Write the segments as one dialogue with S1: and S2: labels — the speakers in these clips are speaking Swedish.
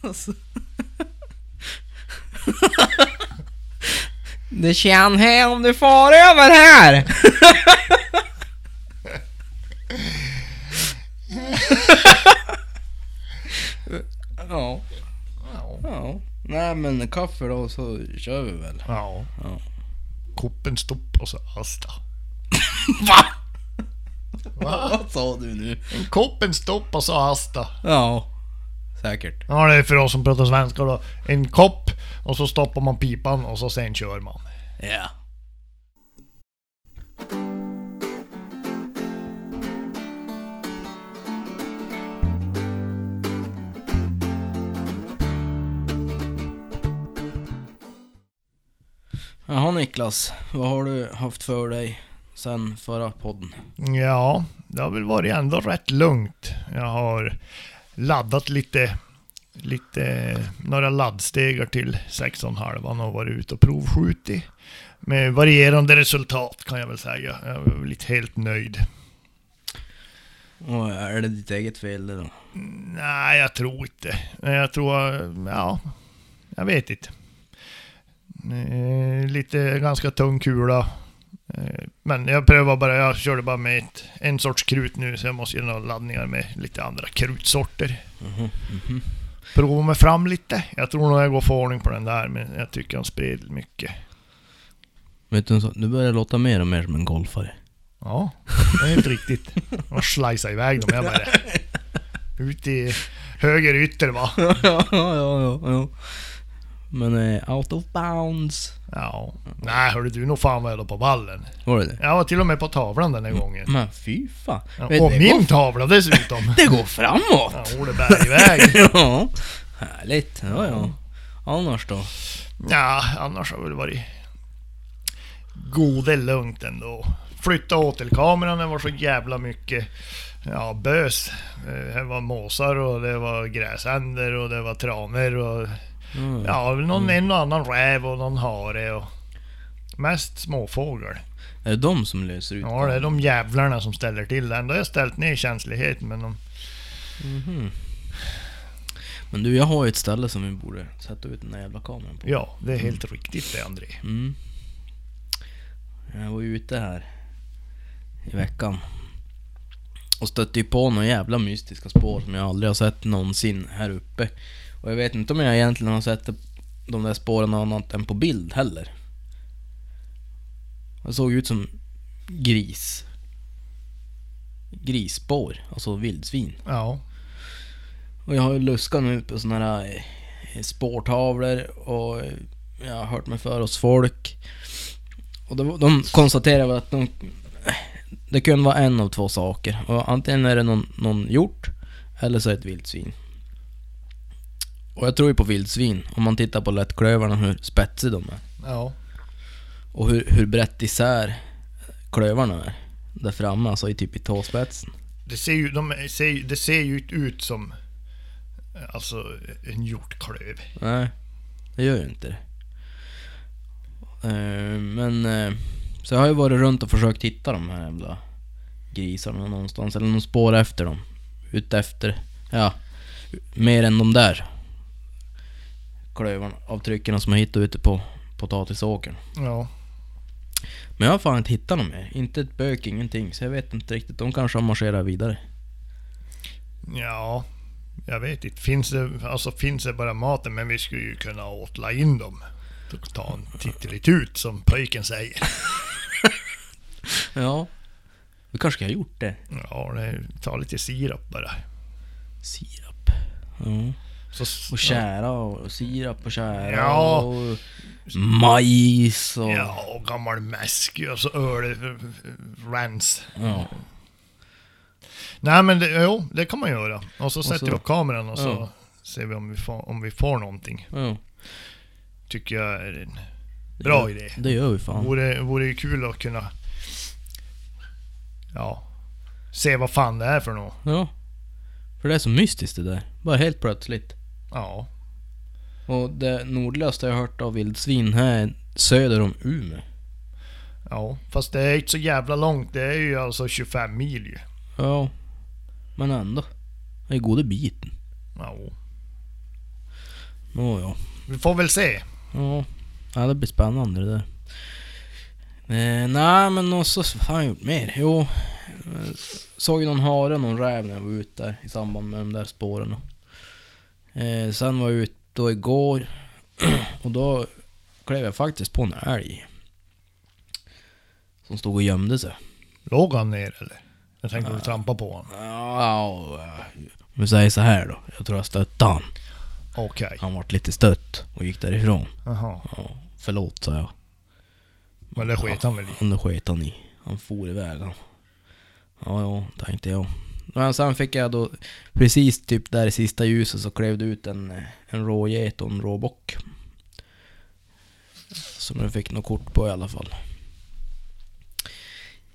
S1: Alltså. Du känner här om du far över här. ja,
S2: Ja.
S1: ja. Nej men kaffe då så kör vi väl.
S2: ja.
S1: Ja.
S2: Koppen stopp och så asta.
S1: Va?
S2: Va?
S1: Vad sa du nu?
S2: Koppen stopp och så asta.
S1: Ja, säkert.
S2: Ja, det är för oss som pratar svenska då. En kopp och så stoppar man pipan och så sen kör man.
S1: Ja. Jaha Niklas, vad har du haft för dig sen förra podden?
S2: Ja, det har väl varit ändå rätt lugnt. Jag har laddat lite, lite några laddstegar till 16,5 och varit ute och provskjutit. Med varierande resultat kan jag väl säga. Jag är väl inte helt nöjd.
S1: Och är det ditt eget fel det då?
S2: Nej, jag tror inte. Nej, Jag tror, ja, jag vet inte. Eh, Lite ganska tung kula. Eh, Men jag prövar bara, jag körde bara med ett, en sorts krut nu så jag måste göra några laddningar med lite andra krutsorter. Prova mig fram lite. Jag tror nog jag går få ordning på den där men jag tycker han spred mycket.
S1: Vet du, en sak? du börjar låta mer och mer som en golfare.
S2: Ja, det är helt riktigt. Och slicea iväg dem, jag bara... Ut i höger ytter va.
S1: ja, ja, ja, ja. Men eh, out of bounds.
S2: Ja. Nej hörru du, nog fan vad jag låg på ballen.
S1: Var det det?
S2: Jag var till och med på tavlan den här gången.
S1: Men fy fan.
S2: Ja,
S1: Vet
S2: Och
S1: du, Mm. det
S2: min tavla dessutom.
S1: Det går framåt!
S2: Ja, det bär iväg.
S1: ja, härligt. Ja,
S2: Mm.
S1: ja. Annars då?
S2: Ja, annars har det väl varit gode lugnt ändå. Flytta åtelkameran, det var så jävla mycket ja, bös. Eh, Det var måsar och det var gräsänder och det var tranor och
S1: Mm.
S2: ja, någon en och annan räv och någon hare och mest småfågel.
S1: Är det de som löser ut
S2: Ja, det är de jävlarna som ställer till det. Ändå har jag ställt ner känsligheten men de
S1: Men du, jag har ju ett ställe som vi borde sätta ut den där jävla kameran på.
S2: Ja, det är helt riktigt det André.
S1: Mm. Jag var ju ute här i veckan och stötte ju på några jävla mystiska spår som jag aldrig har sett någonsin här uppe. Och jag vet inte om jag egentligen har sett de där spåren annat än på bild heller. Det såg ut som gris. Grisspår, alltså vildsvin.
S2: Ja.
S1: Och jag har ju luskat nu på såna här eh, spårtavlor och eh, jag har hört mig för hos folk. Och de, de konstaterar väl att de, det kunde vara en av två saker. Och antingen är det någon, någon hjort eller så är det ett vildsvin. Och jag tror ju på vildsvin, om man tittar på lättklövarna hur spetsiga de är.
S2: Ja.
S1: Och hur, hur brett isär klövarna är. Där framme, alltså i typ i tåspetsen.
S2: Det ser ju, de ser, ju- det ser ju ut- ut som alltså en hjortklöv.
S1: Nej, det gör ju inte det. Eh, Men... eh, Så jag har ju varit runt och försökt hitta de här jävla grisarna någonstans, eller någon spår efter dem. Ute efter, ja, mer än de där klövarna, avtrycken som jag hittade ute på potatisåkern.
S2: Ja.
S1: Men jag har fan inte hittat dem mer. Inte ett bök, ingenting. Så jag vet inte riktigt, de kanske har marscherat vidare.
S2: Ja. Jag vet inte. Finns det, alltså finns det bara maten men vi skulle ju kunna åtla in dem. Och ta en tittelit som pöjken säger.
S1: Ja. Vi kanske ska ha gjort det.
S2: Ja, det, ta lite sirap bara.
S1: Sirap. Ja.
S2: Så,
S1: Och tjära och sirap och tjära
S2: Ja.
S1: och majs och...
S2: Ja, och gammal mäsk och så öl... Rens.
S1: Ja.
S2: Nej men det, jo, det kan man göra. Och så sätter
S1: så-
S2: vi upp kameran och så
S1: Ja.
S2: ser vi om vi, får, om vi får någonting.
S1: Ja.
S2: Tycker jag är en bra
S1: det,
S2: idé.
S1: Det gör vi fan.
S2: Vore, vore ju kul att kunna... Ja. Se vad fan det är för något.
S1: Ja. För det är så mystiskt det där. Bara helt plötsligt.
S2: Ja.
S1: Och det nordligaste jag hört av vildsvin här är söder om Umeå.
S2: Ja. Fast det är inte så jävla långt. Det är ju alltså 25 mil ju.
S1: Ja. Men ändå. Det är goda biten.
S2: Ja.
S1: Oh, ja.
S2: Vi får väl se.
S1: Ja. ja, det blir spännande det där. Eh, nej men och så, vad fan har jag gjort mer? Jo, eh, såg ju någon hare och någon räv när jag var ute där i samband med de där spåren. Eh, sen var jag ute då igår och då klev jag faktiskt på en älg. Som stod och gömde sig.
S2: Låg han ner eller? Jag tänkte att vi trampade på honom.
S1: Ja, och, eh, om vi säger så här då. Jag tror jag stötte han.
S2: Okej.
S1: Han vart lite stött och gick därifrån.
S2: Jaha.
S1: Ja, förlåt sa jag.
S2: Men det sket han väl i.
S1: Men det sket han i. Han for iväg han. Ja, ja, tänkte jag. Men sen fick jag då, precis typ där i sista ljuset så klev det ut en, eh, en råget och en råbock. Som jag fick något kort på i alla fall.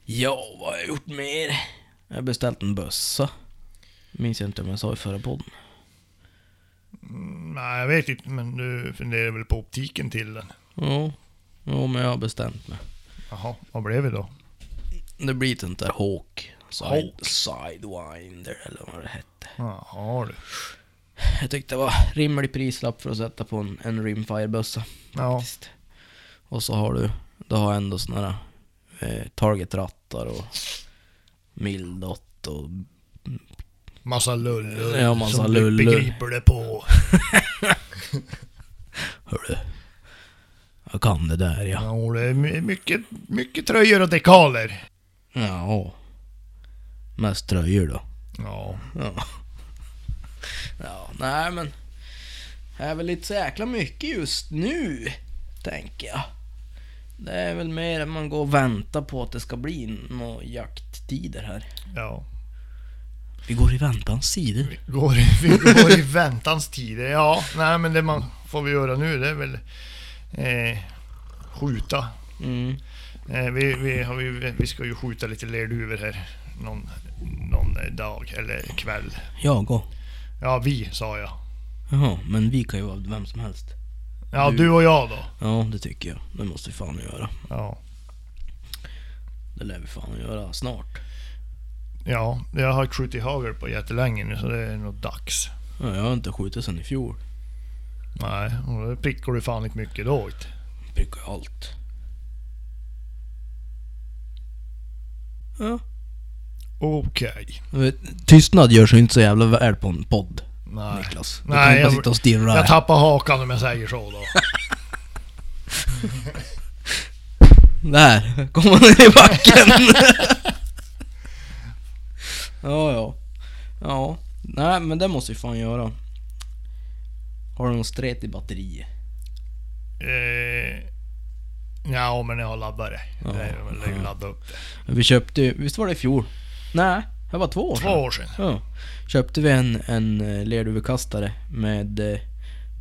S1: Ja, vad har jag gjort mer? Jag har beställt en bössa. Minns jag inte om jag sa i förra podden.
S2: Mm, Nej, jag vet inte. Men du funderar väl på optiken till den?
S1: Ja, ja men jag har bestämt mig.
S2: Jaha, vad blev det då?
S1: Det blir den där Hawk. Side,
S2: Hawk?
S1: sidewinder eller vad det hette.
S2: Jaha du.
S1: Jag tyckte det var rimlig prislapp för att sätta på en, en Rimfire-bössa.
S2: Ja,
S1: faktiskt. Och så har du, då har jag ändå såna här eh, Target-rattar och Mildot och...
S2: massa lullul
S1: Ja, massa
S2: som du
S1: lullul.
S2: begriper det på.
S1: Hörru. Jag kan det där ja.
S2: Ja, det är my- mycket, mycket tröjor och dekaler.
S1: Ja. Mest tröjor då.
S2: Ja,
S1: Ja. Ja, nej men. Det är väl inte så jäkla mycket just nu, tänker jag. Det är väl mer att man går och väntar på att det ska bli några jakttider här.
S2: ja.
S1: Vi går i väntans sidor.
S2: Går, vi går i väntans tider. Ja, nej men det man får vi göra nu det är väl eh, skjuta.
S1: Mm.
S2: Eh, vi, vi, har ju, vi ska ju skjuta lite lerduvor här någon, någon eh, dag eller kväll.
S1: Jag och.
S2: Ja, vi sa jag.
S1: Jaha, men vi kan ju vara vem som helst.
S2: Ja,
S1: Du.
S2: du, och jag då.
S1: Ja, det tycker jag. Det måste vi fan göra.
S2: Ja.
S1: Det lär vi fan göra snart.
S2: ja, jag har inte skjutit hagel på jättelänge nu så det är nog dags.
S1: Ja, jag har inte skjutit sen i fjol.
S2: Nej, och då prickar du fan inte mycket då. inte.
S1: Prickar ju allt. Ja.
S2: Okej.
S1: Jag vet, Tystnad gör sig inte så jävla väl på en podd,
S2: Nej.
S1: Niklas. Du
S2: Nej,
S1: kan ju bara
S2: jag-
S1: sitta och stirra
S2: Jag
S1: här.
S2: tappar hakan om jag säger så då.
S1: Där kom han ner i backen. ja, ja. Ja. Nej, men det måste vi fan göra. Har du någon stret i batteriet?
S2: Eh, ja, men jag har laddare.
S1: Ja.
S2: Det är väl att ladda upp det.
S1: Vi köpte ju- visst var det i fjol? Nej, det var två år
S2: Två
S1: sedan.
S2: år sedan.
S1: Ja. Köpte vi en, en eh, lerduvekastare med, eh,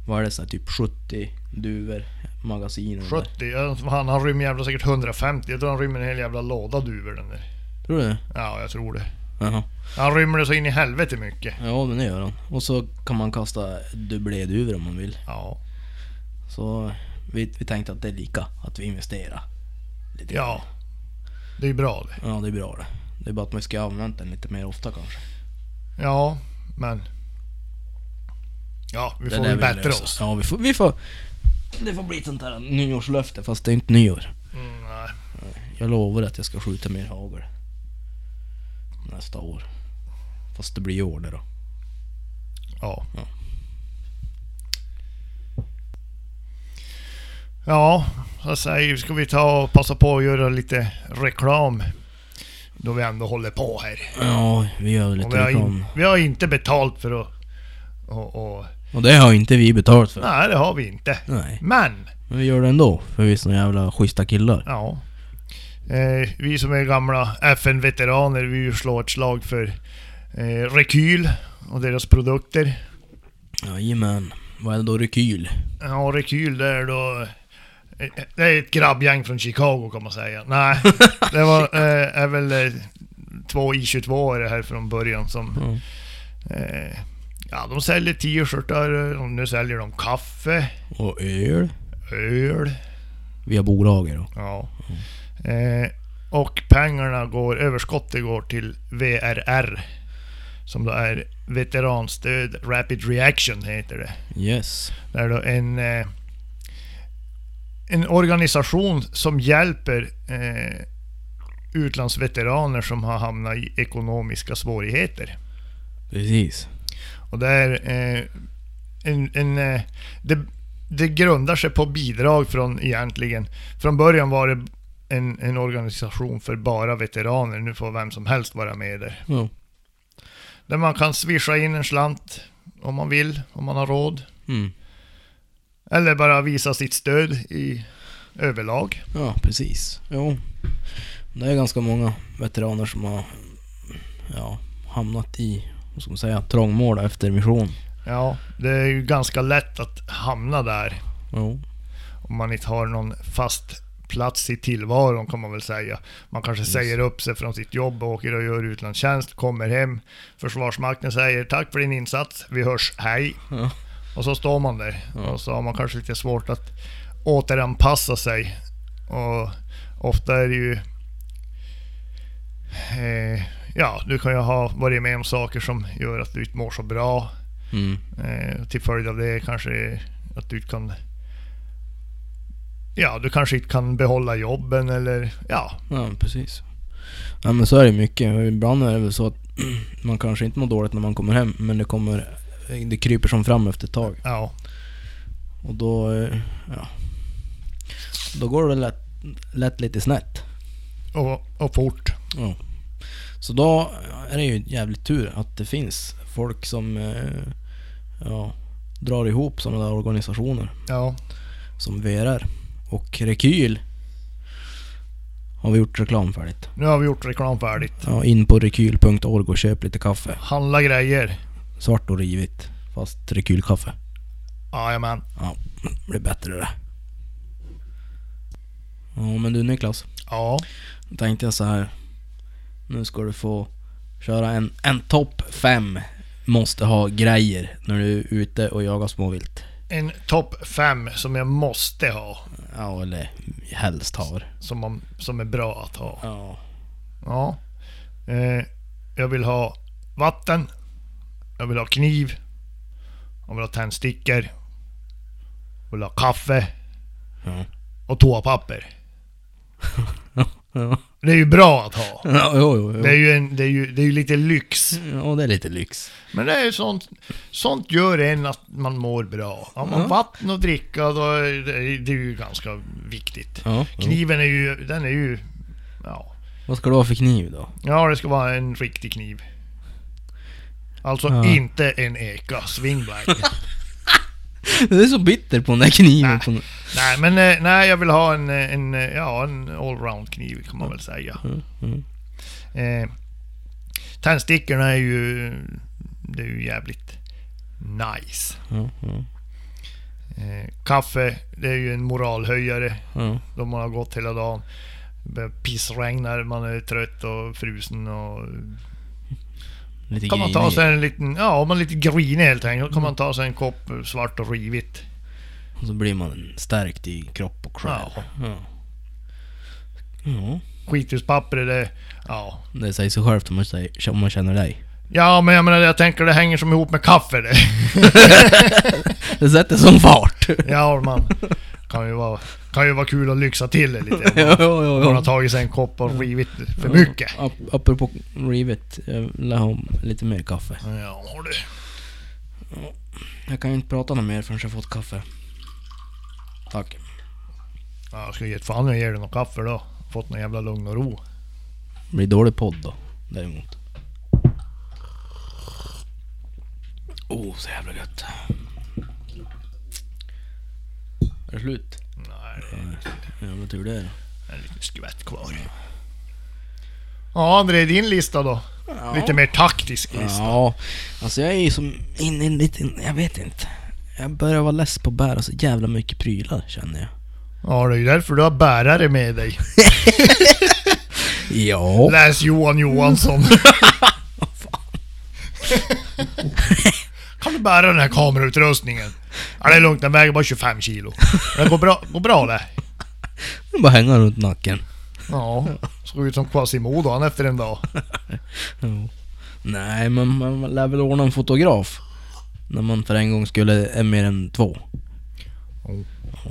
S1: vad är det, så här, typ 70 duvor, magasin och det där.
S2: 70. ja, Han, han rymmer jävla säkert 150. Jag tror han rymmer en hel jävla låda duvor den där.
S1: Tror du det?
S2: Ja, jag tror det.
S1: Jaha.
S2: Han rymmer det så in i helvete mycket.
S1: Ja, men det gör han. Och så kan man kasta dubbléduvor om man vill.
S2: Ja.
S1: Så vi, vi tänkte att det är lika, att vi investerar. Lite grann.
S2: Ja. Det är bra det.
S1: Ja, det är bra det. Det är bara att man ska använda den lite mer ofta kanske.
S2: Ja, men... Ja, vi
S1: Det
S2: får
S1: lär
S2: väl bättre
S1: lösa.
S2: oss.
S1: Ja, vi får, vi får... Det får bli ett sånt här nyårslöfte, fast det är inte nyår.
S2: Mm, nej.
S1: Jag lovar att jag ska skjuta mer hagel. Nästa år. Fast det blir i år det då.
S2: Ja.
S1: Ja.
S2: Ja, så säger vi, ska vi ta och passa på att göra lite reklam då vi ändå håller på här.
S1: Ja, vi gör
S2: Och vi,
S1: lite
S2: har
S1: reklam.
S2: in, vi har inte betalt för att... Och, och,
S1: Och det har inte vi betalt för.
S2: nej, det har vi inte.
S1: Nej.
S2: Men,
S1: Men vi gör det ändå, för vi är såna jävla schyssta killar.
S2: ja. Eh, vi som är gamla FN-veteraner, vi vill slå ett slag för eh, Rekyl och deras produkter.
S1: Jajamän. Vad är det då, rekyl?
S2: Ja, Rekyl det är då... eh, Det är ett grabbgäng från Chicago kan man säga. Nej, det var, eh, är väl eh, två I22 är det här från början som...
S1: Ja.
S2: Eh, ja, de säljer t-shirtar eh, och nu säljer de kaffe,
S1: Och öl?
S2: öl.
S1: Via bolaget då.
S2: Ja. Eh, och pengarna går, överskottet går till VRR. Som då är veteranstöd, Rapid Reaction heter det.
S1: Yes.
S2: Det är då en, eh, en organisation som hjälper eh, utlandsveteraner som har hamnat i ekonomiska svårigheter.
S1: Precis.
S2: Och det är eh, en... en eh, det, det grundar sig på bidrag från egentligen... Från början var det en, en organisation för bara veteraner. Nu får vem som helst vara med där.
S1: Ja.
S2: Där man kan swisha in en slant om man vill, om man har råd.
S1: Mm.
S2: Eller bara visa sitt stöd i överlag.
S1: Ja, precis. Jo. Det är ganska många veteraner som har ja, hamnat i, vad ska man säga, trångmål efter mission.
S2: Ja, det är ju ganska lätt att hamna där
S1: Jo.
S2: om man inte har någon fast plats i tillvaron kan man väl säga. Man kanske säger upp sig från sitt jobb och åker och gör utlandstjänst, kommer hem. Försvarsmakten säger tack för din insats, vi hörs, hej.
S1: Ja.
S2: Och så står man där
S1: Ja.
S2: och så har man kanske lite svårt att återanpassa sig. Och ofta är det ju... Eh, ja, du kan ju ha varit med om saker som gör att du inte mår så bra.
S1: Mm.
S2: Eh, till följd av det kanske att du inte kan... Ja, du kanske inte kan behålla jobben eller... Ja,
S1: Ja, precis. Ja, men så är det mycket. Ibland är det väl så att man kanske inte mår dåligt när man kommer hem, men det kommer... Det kryper som fram efter ett tag.
S2: ja,
S1: Och då... eh, Ja. Då går det lätt, lätt lite snett.
S2: och, och fort.
S1: Ja. Så då är det ju jävligt tur att det finns folk som eh, ja, drar ihop sådana där organisationer
S2: Ja,
S1: som VRR. Och Rekyl har vi gjort reklam färdigt.
S2: nu har vi gjort reklam färdigt.
S1: Ja, in på rekyl.org och köp lite kaffe.
S2: Handla grejer.
S1: Svart och rivigt, fast rekylkaffe.
S2: Jajamän.
S1: Ja, blir bättre det. Ja men du Niklas,
S2: Ja,
S1: då tänkte jag så här. Nu ska du få köra en, en topp fem måste ha grejer när du är ute och jagar småvilt.
S2: en topp fem som jag måste ha.
S1: Ja eller helst har.
S2: Som, man, som är bra att ha.
S1: Ja.
S2: Ja. Eh, jag vill ha vatten. Jag vill ha kniv. Jag vill ha tändstickor. Jag vill ha kaffe.
S1: Ja.
S2: Och toapapper.
S1: Ja,
S2: Det är ju bra att ha.
S1: ja jo, jo, jo.
S2: Det är ju, en, det är ju, det är ju lite lyx.
S1: Ja, det är lite lyx.
S2: Men det är ju sånt, sånt gör en att man mår bra. Har man
S1: Ja.
S2: vatten att dricka, då är det, det är ju ganska viktigt.
S1: Ja. jo.
S2: Kniven är ju, den är ju... Ja,
S1: Vad ska du ha för kniv då?
S2: ja det ska vara en riktig kniv. Alltså
S1: Ja.
S2: inte en eka, swingblade.
S1: Du är så bitter på den där kniven.
S2: Nej.
S1: På den...
S2: nej men eh, nej, jag vill ha en, eh, en, eh, ja, en allround kniv kan man väl säga.
S1: Mm, mm.
S2: Eh, tändstickorna är ju... Det är ju jävligt nice.
S1: Ja, ja,
S2: Eh, kaffe, det är ju en moralhöjare
S1: ja.
S2: då man har gått hela dagen. Det börjar pissregna, man är trött och frusen och...
S1: Lite
S2: Kan man ta
S1: grinig.
S2: sig en liten... Ja, om man är lite grinig helt enkelt. Då kan man ta sig en kopp svart och rivigt.
S1: Och så blir man stärkt i kropp och själ.
S2: Ja.
S1: Ja. ja.
S2: Skithuspapper är det... Ja.
S1: Det säger sig självt om man, säger, om man känner dig.
S2: Ja, men jag menar jag tänker det hänger som ihop med kaffe det.
S1: Det sätter som fart.
S2: Ja, man kan ju vara... Kan ju vara kul att lyxa till det lite. om
S1: ja,
S2: man-
S1: ja,
S2: Om man har
S1: ja.
S2: tagit sig en kopp och rivit för mycket.
S1: Ap- Apropå rivet, jag vill ha lite mer kaffe.
S2: Ja, du.
S1: Jag kan ju inte prata något mer förrän jag fått kaffe. Tack.
S2: Ja, jag ska ge ett fan om jag ger dig något kaffe då. Fått någon jävla lugn och ro.
S1: blir dålig podd då, däremot. Oh, så jävla gött. Är det slut?
S2: Nej, det
S1: Jävla tur det är.
S2: En liten skvätt kvar. Ja, André, din lista då? Lite mer taktisk lista.
S1: Ja, alltså jag är ju som inne i en liten, jag vet inte. Jag börjar vara less på att bära så jävla mycket prylar känner jag.
S2: Ja, det är ju därför du har bärare med dig.
S1: Ja.
S2: Läs Johan Johansson. kan du bära den här kamerautrustningen? Ja, det är lugnt, den väger bara 25 kilo. Den går bra, går bra det.
S1: Jag bara hänga runt nacken.
S2: Ja, såg ut som Quasimodo han efter en dag.
S1: Ja. Nej, men man lär väl ordna en fotograf. När man för en gång skulle är mer än två.
S2: Oh.
S1: Ja.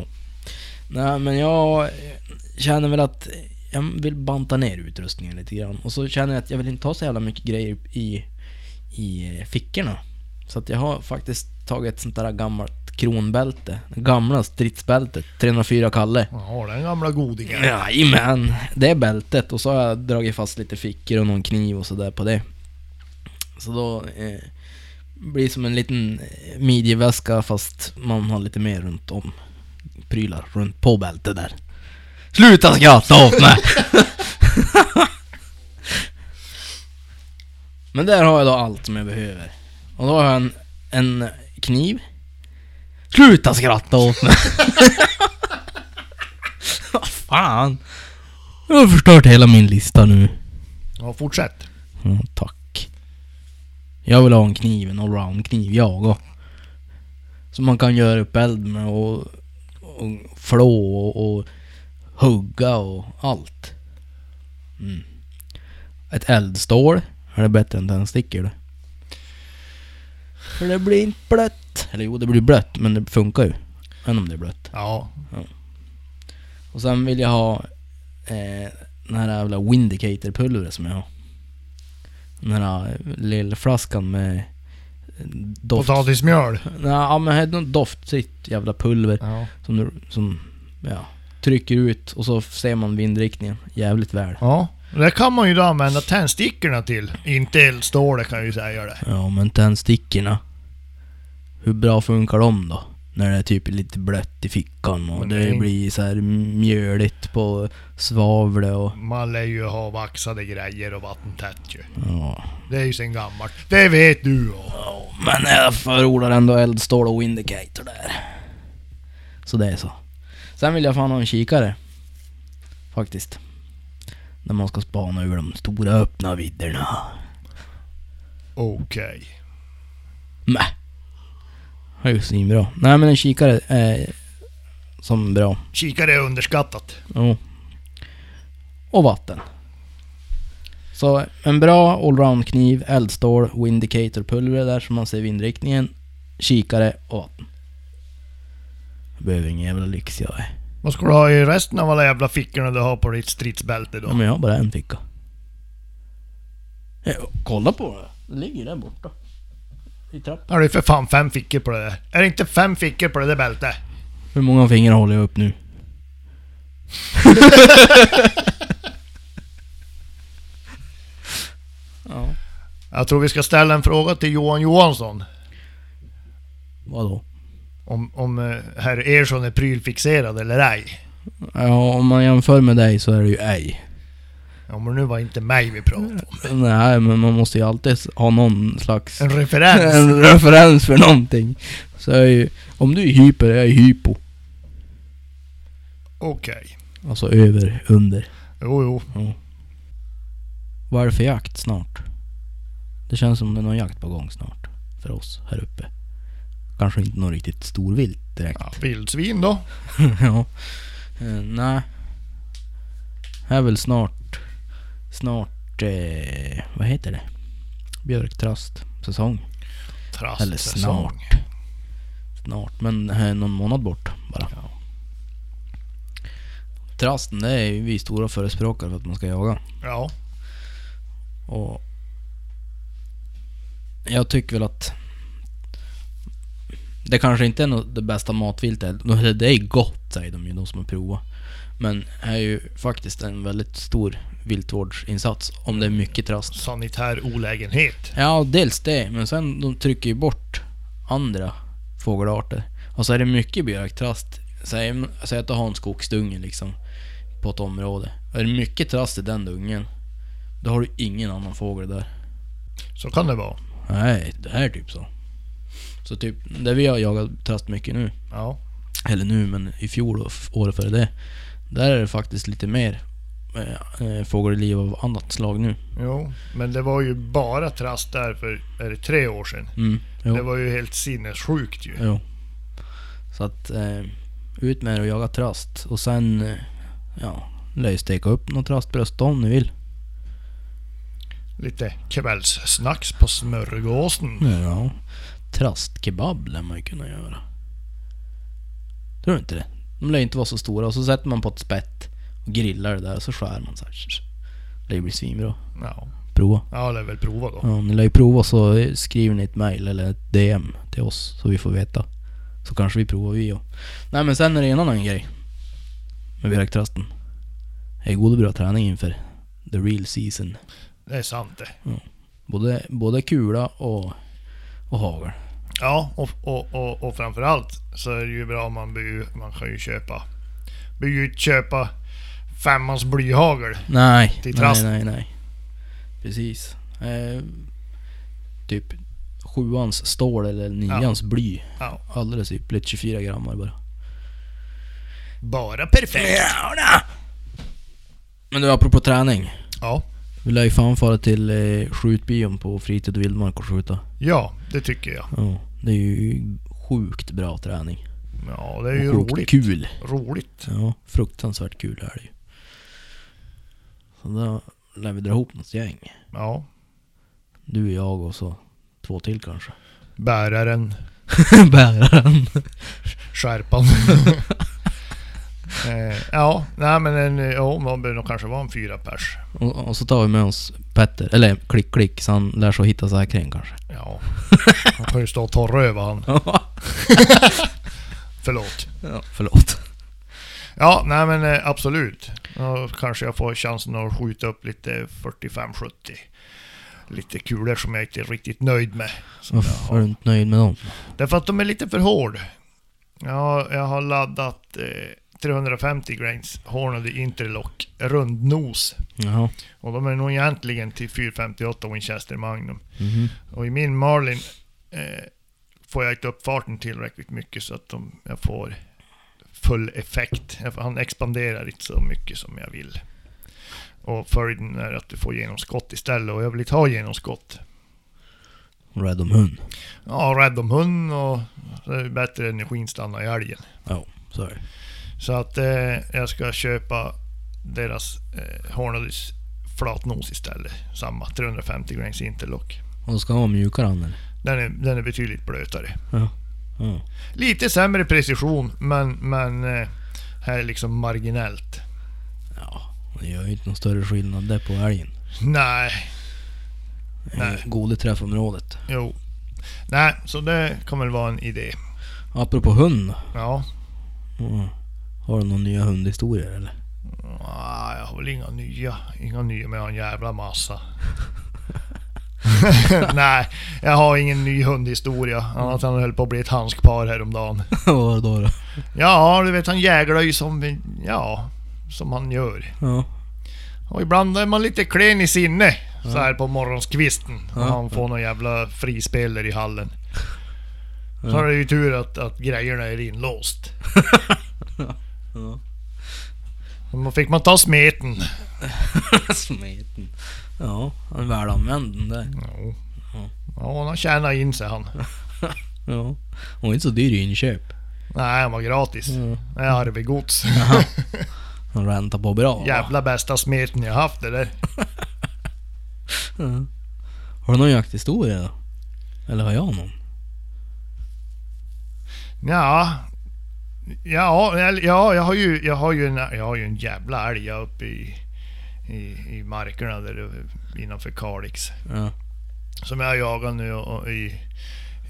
S1: Nej, men jag känner väl att jag vill banta ner utrustningen lite grann. Och så känner jag att jag vill inte ha så jävla mycket grejer i, i eh, fickorna. Så att jag har faktiskt tagit ett sånt där gammalt kronbälte. Det gamla stridsbältet, 304 Kalle.
S2: Ja, den gamla godingen.
S1: Jajamän, det är bältet och så har jag dragit fast lite fickor och någon kniv och sådär på det. Så då eh, blir det som en liten eh, midjeväska fast man har lite mer runt om prylar runt på bältet där. Sluta skratta åt mig! Men där har jag då allt som jag behöver. Och då har jag en, en kniv. Sluta skratta åt mig! Vad fan! Jag har förstört hela min lista nu.
S2: Ja, fortsätt.
S1: Ja, tack. Jag vill ha en kniv, en allround-kniv, jag och. Som man kan göra upp eld med och, och flå och, och hugga och allt. Mm. Ett eldstål är det bättre än tändstickor det. För det blir inte blött. Eller jo, det blir blött, men det funkar ju. Även om det är blött.
S2: Ja,
S1: Och sen vill jag ha eh, den här jävla Windicator-pulvret som jag har. Den här eh, lilla flaskan med eh, doft...
S2: potatismjöl.
S1: Nej, ja, men här är något doftfritt jävla pulver
S2: Ja.
S1: som du som, ja, trycker ut och så ser man vindriktningen jävligt väl.
S2: ja. Det kan man ju då använda tändstickorna till. Inte eldstålet kan jag ju säga det.
S1: Ja, men tändstickorna. Hur bra funkar de då? När det är typ lite blött i fickan och
S2: Men
S1: det
S2: det är-
S1: blir så här mjöligt på svavlet och...
S2: Man lär ju ha vaxade grejer och vattentätt ju.
S1: Ja.
S2: Det är ju sen gammalt. Det vet du ju.
S1: Ja, men jag förordar ändå eldstål och indicator där. Så det är så. Sen vill jag fan ha en kikare. Faktiskt. När man ska spana över de stora öppna vidderna.
S2: Okej.
S1: Mäh. Det är ju svinbra. Nej men en kikare är som bra.
S2: Kikare är underskattat.
S1: Jo. Och vatten. Så en bra allround-kniv, eldstål, windicator-pulver där som man ser vindriktningen, kikare och vatten. Jag behöver ingen jävla lyx jag är.
S2: Vad ska du ha i resten av alla jävla fickorna du har på ditt stridsbälte
S1: Ja,
S2: då?
S1: men jag har bara en ficka. Eh, Kolla på det. Det ligger där borta. I trappan.
S2: Har du för fan fem fickor på det där? Är det inte fem fickor på det där bältet?
S1: Hur många fingrar håller jag upp nu? ja,
S2: Jag tror vi ska ställa en fråga till Johan Johansson.
S1: vadå?
S2: Om, om eh, herr Ersson är prylfixerad eller ej.
S1: Ja, om man jämför med dig så är det ju ej.
S2: Ja men nu var inte mig vi pratade om.
S1: Nej, men man måste ju alltid ha någon slags...
S2: En referens.
S1: En referens för någonting. Så jag är ju... Om du är hyper, jag är hypo.
S2: Okej.
S1: Alltså över, under.
S2: Jo jo.
S1: Vad är det för jakt snart? Det känns som det är någon jakt på gång snart. För oss här uppe. Kanske inte någon riktigt storvilt direkt.
S2: Ja, vildsvin då.
S1: ja. Eh, nej. Här är väl snart... Snart... Eh, vad heter det? Björktrast. Säsong.
S2: Trast,
S1: Eller snart. Snart, men här är någon månad bort bara. Trasten, det är ju vi stora förespråkare för att man ska jaga.
S2: Ja.
S1: Och jag tycker väl att det kanske inte är något, det bästa matviltet. Nå, Det är gott säger de ju, de som har provat. Men det är ju faktiskt en väldigt stor viltvårdsinsats om det är mycket trast.
S2: Sanitär olägenhet.
S1: Ja, dels det, men sen de trycker ju bort andra fågelarter. Och så är det mycket björktrast. Säg, säg att du har en skogsdunge liksom, på ett område. Och är det mycket trast i den dungen, då har du ingen annan fågel där.
S2: Så kan det vara.
S1: Nej, det här är typ så. Så typ, där vi har jagat trast mycket nu,
S2: Ja.
S1: eller nu men i fjol och f- året före det. Där är det faktiskt lite mer eh, eh, fågelliv av annat slag nu.
S2: Jo. Men det var ju bara trast där för, är det tre år sedan?
S1: Mm, jo.
S2: Det var ju helt sinnessjukt ju.
S1: Jo. typ. Så att eh, ut med er och jaga trast. Och sen, eh, ja, löjsteka upp någon trastbröst om ni vill.
S2: Lite kvällssnacks på smörgåsen.
S1: Ja. Trastkebab lär man ju kunna göra. Tror du inte det? De lär ju inte vara så stora och så sätter man på ett spett och grillar det där och så skär man så här. Det blir svinbra.
S2: Ja,
S1: Prova.
S2: ja det är väl prova då.
S1: Ja, ni lär ju prova så skriver ni ett mail eller ett DM till oss så vi får veta. Så kanske vi provar vi och... Nej men sen är det en annan grej. Med Viraktrasten. Det är god och bra träning inför the real season.
S2: Det är sant det.
S1: Både, både kula och, och hagel.
S2: Ja, och, och, och, och framförallt så är det ju bra om man bör, man kan ju köpa... Bör ju inte köpa femmans blyhagel.
S1: Nej,
S2: Till
S1: nej,
S2: trasten.
S1: nej, nej. Precis. Eh, typ sjuans stål eller nians bly.
S2: Ja,
S1: Alldeles ypperligt. 24 grammar bara.
S2: bara perfekt.
S1: Men du, apropå träning.
S2: Ja,
S1: Vi lär ju fan fara till eh, skjutbion på fritid och vildmark och skjuta.
S2: ja det tycker jag.
S1: Ja, det är ju sjukt bra träning.
S2: Ja, det är ju
S1: Och sjukt
S2: roligt.
S1: kul.
S2: Roligt.
S1: Ja, fruktansvärt kul är det ju. Så då lär vi dra ihop något gäng.
S2: Ja,
S1: Du, jag och så två till kanske.
S2: bäraren,
S1: Bäraren.
S2: skärpan. eh, ja, nej men en, ja, man bör nog kanske vara en fyra pers.
S1: Och, och så tar vi med oss Petter, eller Klick Klick, så han lär sig att hitta säkring kanske.
S2: Ja, han kan ju stå och torröva han. Förlåt.
S1: ja, förlåt.
S2: Ja, nej men eh, absolut. Då kanske jag får chansen att skjuta upp lite 45-70. Lite kulor som jag inte är riktigt nöjd med. Som jag
S1: Varför är du inte nöjd med dem?
S2: Därför att de är lite för hård. Ja, jag har laddat eh, 350 grains Hornady Interlock rundnos.
S1: Jaha.
S2: Och de är nog egentligen till 458 Winchester Magnum.
S1: Mhm.
S2: Och i min Marlin eh, får jag inte upp farten tillräckligt mycket så att de, jag får full effekt. Jag- Han expanderar inte så mycket som jag vill. Och följden är att du får genomskott istället och jag vill inte ha genomskott.
S1: Rädd om hund.
S2: Ja, rädd om hund och så är det bättre energin stannar i älgen.
S1: Ja, så är det.
S2: Så att eh, jag ska köpa deras eh, Hornadys flatnos istället. Samma 350 grains interlock.
S1: Och ska han vara mjukare han eller?
S2: Den är, den är betydligt blötare.
S1: Ja. ja.
S2: Lite sämre precision men, men eh, här är liksom marginellt.
S1: Ja, det gör ju inte någon större skillnad där på älgen.
S2: Nej, Nej.
S1: Eh, Gode träffområdet.
S2: jo. Nej, så det kommer vara en idé.
S1: Apropå hund då.
S2: Ja,
S1: Ja. Har du några nya hundhistorier eller?
S2: Ah, jag har väl inga nya. Inga nya men jag har en jävla massa. Nej, jag har ingen ny hundhistoria. Annat än att han höll på att bli ett handskpar häromdagen.
S1: Vad då då?
S2: Ja, du vet han jäglar ju som, ja, som han gör.
S1: Ja.
S2: Och ibland är man lite klen i sinne så här på morgonskvisten.
S1: Ja.
S2: När han får någon jävla frispeler i hallen. Så
S1: Ja.
S2: är det ju tur att, att grejerna är inlåst.
S1: Ja.
S2: Då fick man ta smeten.
S1: Smeten. Ja, han är välanvänd den där.
S2: Jo.
S1: Ja.
S2: Ja, han tjänar in sig han.
S1: Ja. Hon är inte så dyr i inköp.
S2: Nej, han var gratis.
S1: Ja.
S2: Nej, arvegods.
S1: Han räntar på bra. va?
S2: Jävla bästa smeten jag haft det där.
S1: Ja. Har du någon jakthistoria då? Eller har jag någon?
S2: Ja. Ja, eller- ja jag, har ju, jag, har ju en, jag har ju en jävla älg jag uppe i, i, i markerna där uppe innanför Kalix.
S1: Ja.
S2: Som jag har jagat nu och, och i...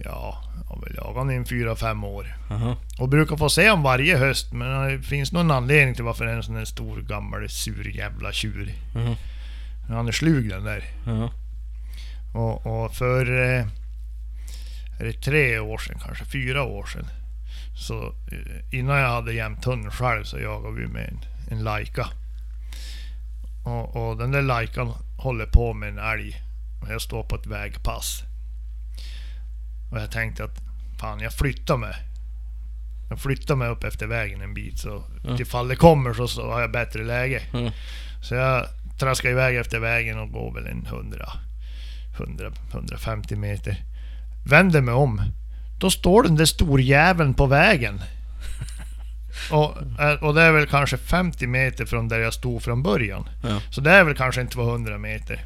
S2: Ja, jag har väl jagat den i en fyra, fem år.
S1: Aha.
S2: Och brukar få se om varje höst men det finns någon anledning till varför det är en sån där stor gammal sur jävla tjur.
S1: Mhm.
S2: Han är slug den där.
S1: Ja.
S2: Och, och för eh, är det tre år sedan, kanske fyra år sedan. Så eh, innan jag hade jämt hund själv så jagade vi med en, en Laika. Och, och den där Laikan håller på med en älg. Och jag står på ett vägpass. Och jag tänkte att fan jag flyttar mig. Jag flyttar mig upp efter vägen en bit så
S1: Ja.
S2: ifall det kommer så, så har jag bättre läge.
S1: Ja.
S2: Så jag traskar iväg efter vägen och går väl en 100, 100 150 meter. Vänder mig om. Då står den där storjäveln på vägen. Och, eh, och det är väl kanske 50 meter från där jag stod från början.
S1: Ja.
S2: Så det är väl kanske en 200 meter.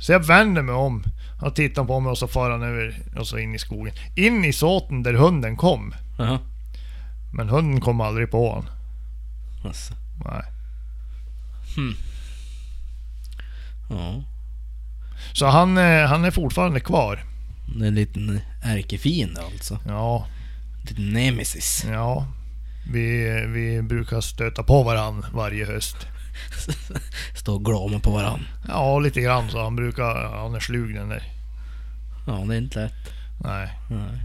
S2: Så jag vänder mig om. Han tittar på mig och så far han över och så in i skogen. In i såten där hunden kom.
S1: Jaha.
S2: Men hunden kom aldrig på honom.
S1: Alltså.
S2: Nej.
S1: Ja.
S2: Så han, eh, han är fortfarande kvar.
S1: Det är en liten ärkefiende alltså.
S2: Ja,
S1: En liten nemesis.
S2: ja. Vi, eh, vi brukar stöta på varann varje höst.
S1: Står och glåmar på varann.
S2: Ja, lite grann så. Han brukar... Han är slug den där.
S1: Ja, det är inte lätt.
S2: Nej.
S1: Nej.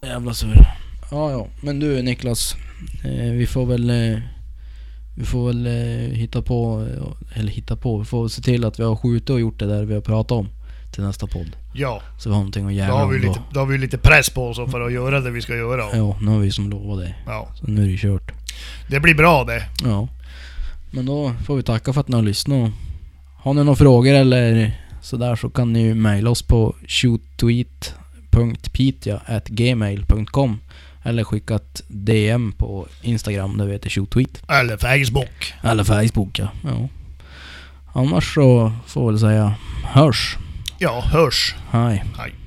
S1: Ja. Jävla sur. Ja, ja. Men du Niklas. Eh, vi får väl... Eh, vi får väl eh, hitta på... eh, Eller hitta på. Vi får se till att vi har skjutit och gjort det där vi har pratat om. Till nästa podd.
S2: Ja,
S1: Så vi har någonting att
S2: då
S1: jävla
S2: har, vi
S1: om då.
S2: lite, då har vi lite press på oss för att göra det vi ska göra.
S1: Ja, nu har vi som lovat det.
S2: Ja.
S1: Så nu är det kört.
S2: Det blir bra det.
S1: Ja. Men då får vi tacka för att ni har lyssnat. Har ni några frågor eller sådär så kan ni ju mejla oss på shoottweet.pitja.gmail.com Eller skicka ett DM på Instagram där vi heter shoottweet.
S2: Eller Facebook.
S1: Eller Facebook ja. ja. Annars så får vi väl säga hörs.
S2: Ja, hörs.
S1: Hej.
S2: Hej.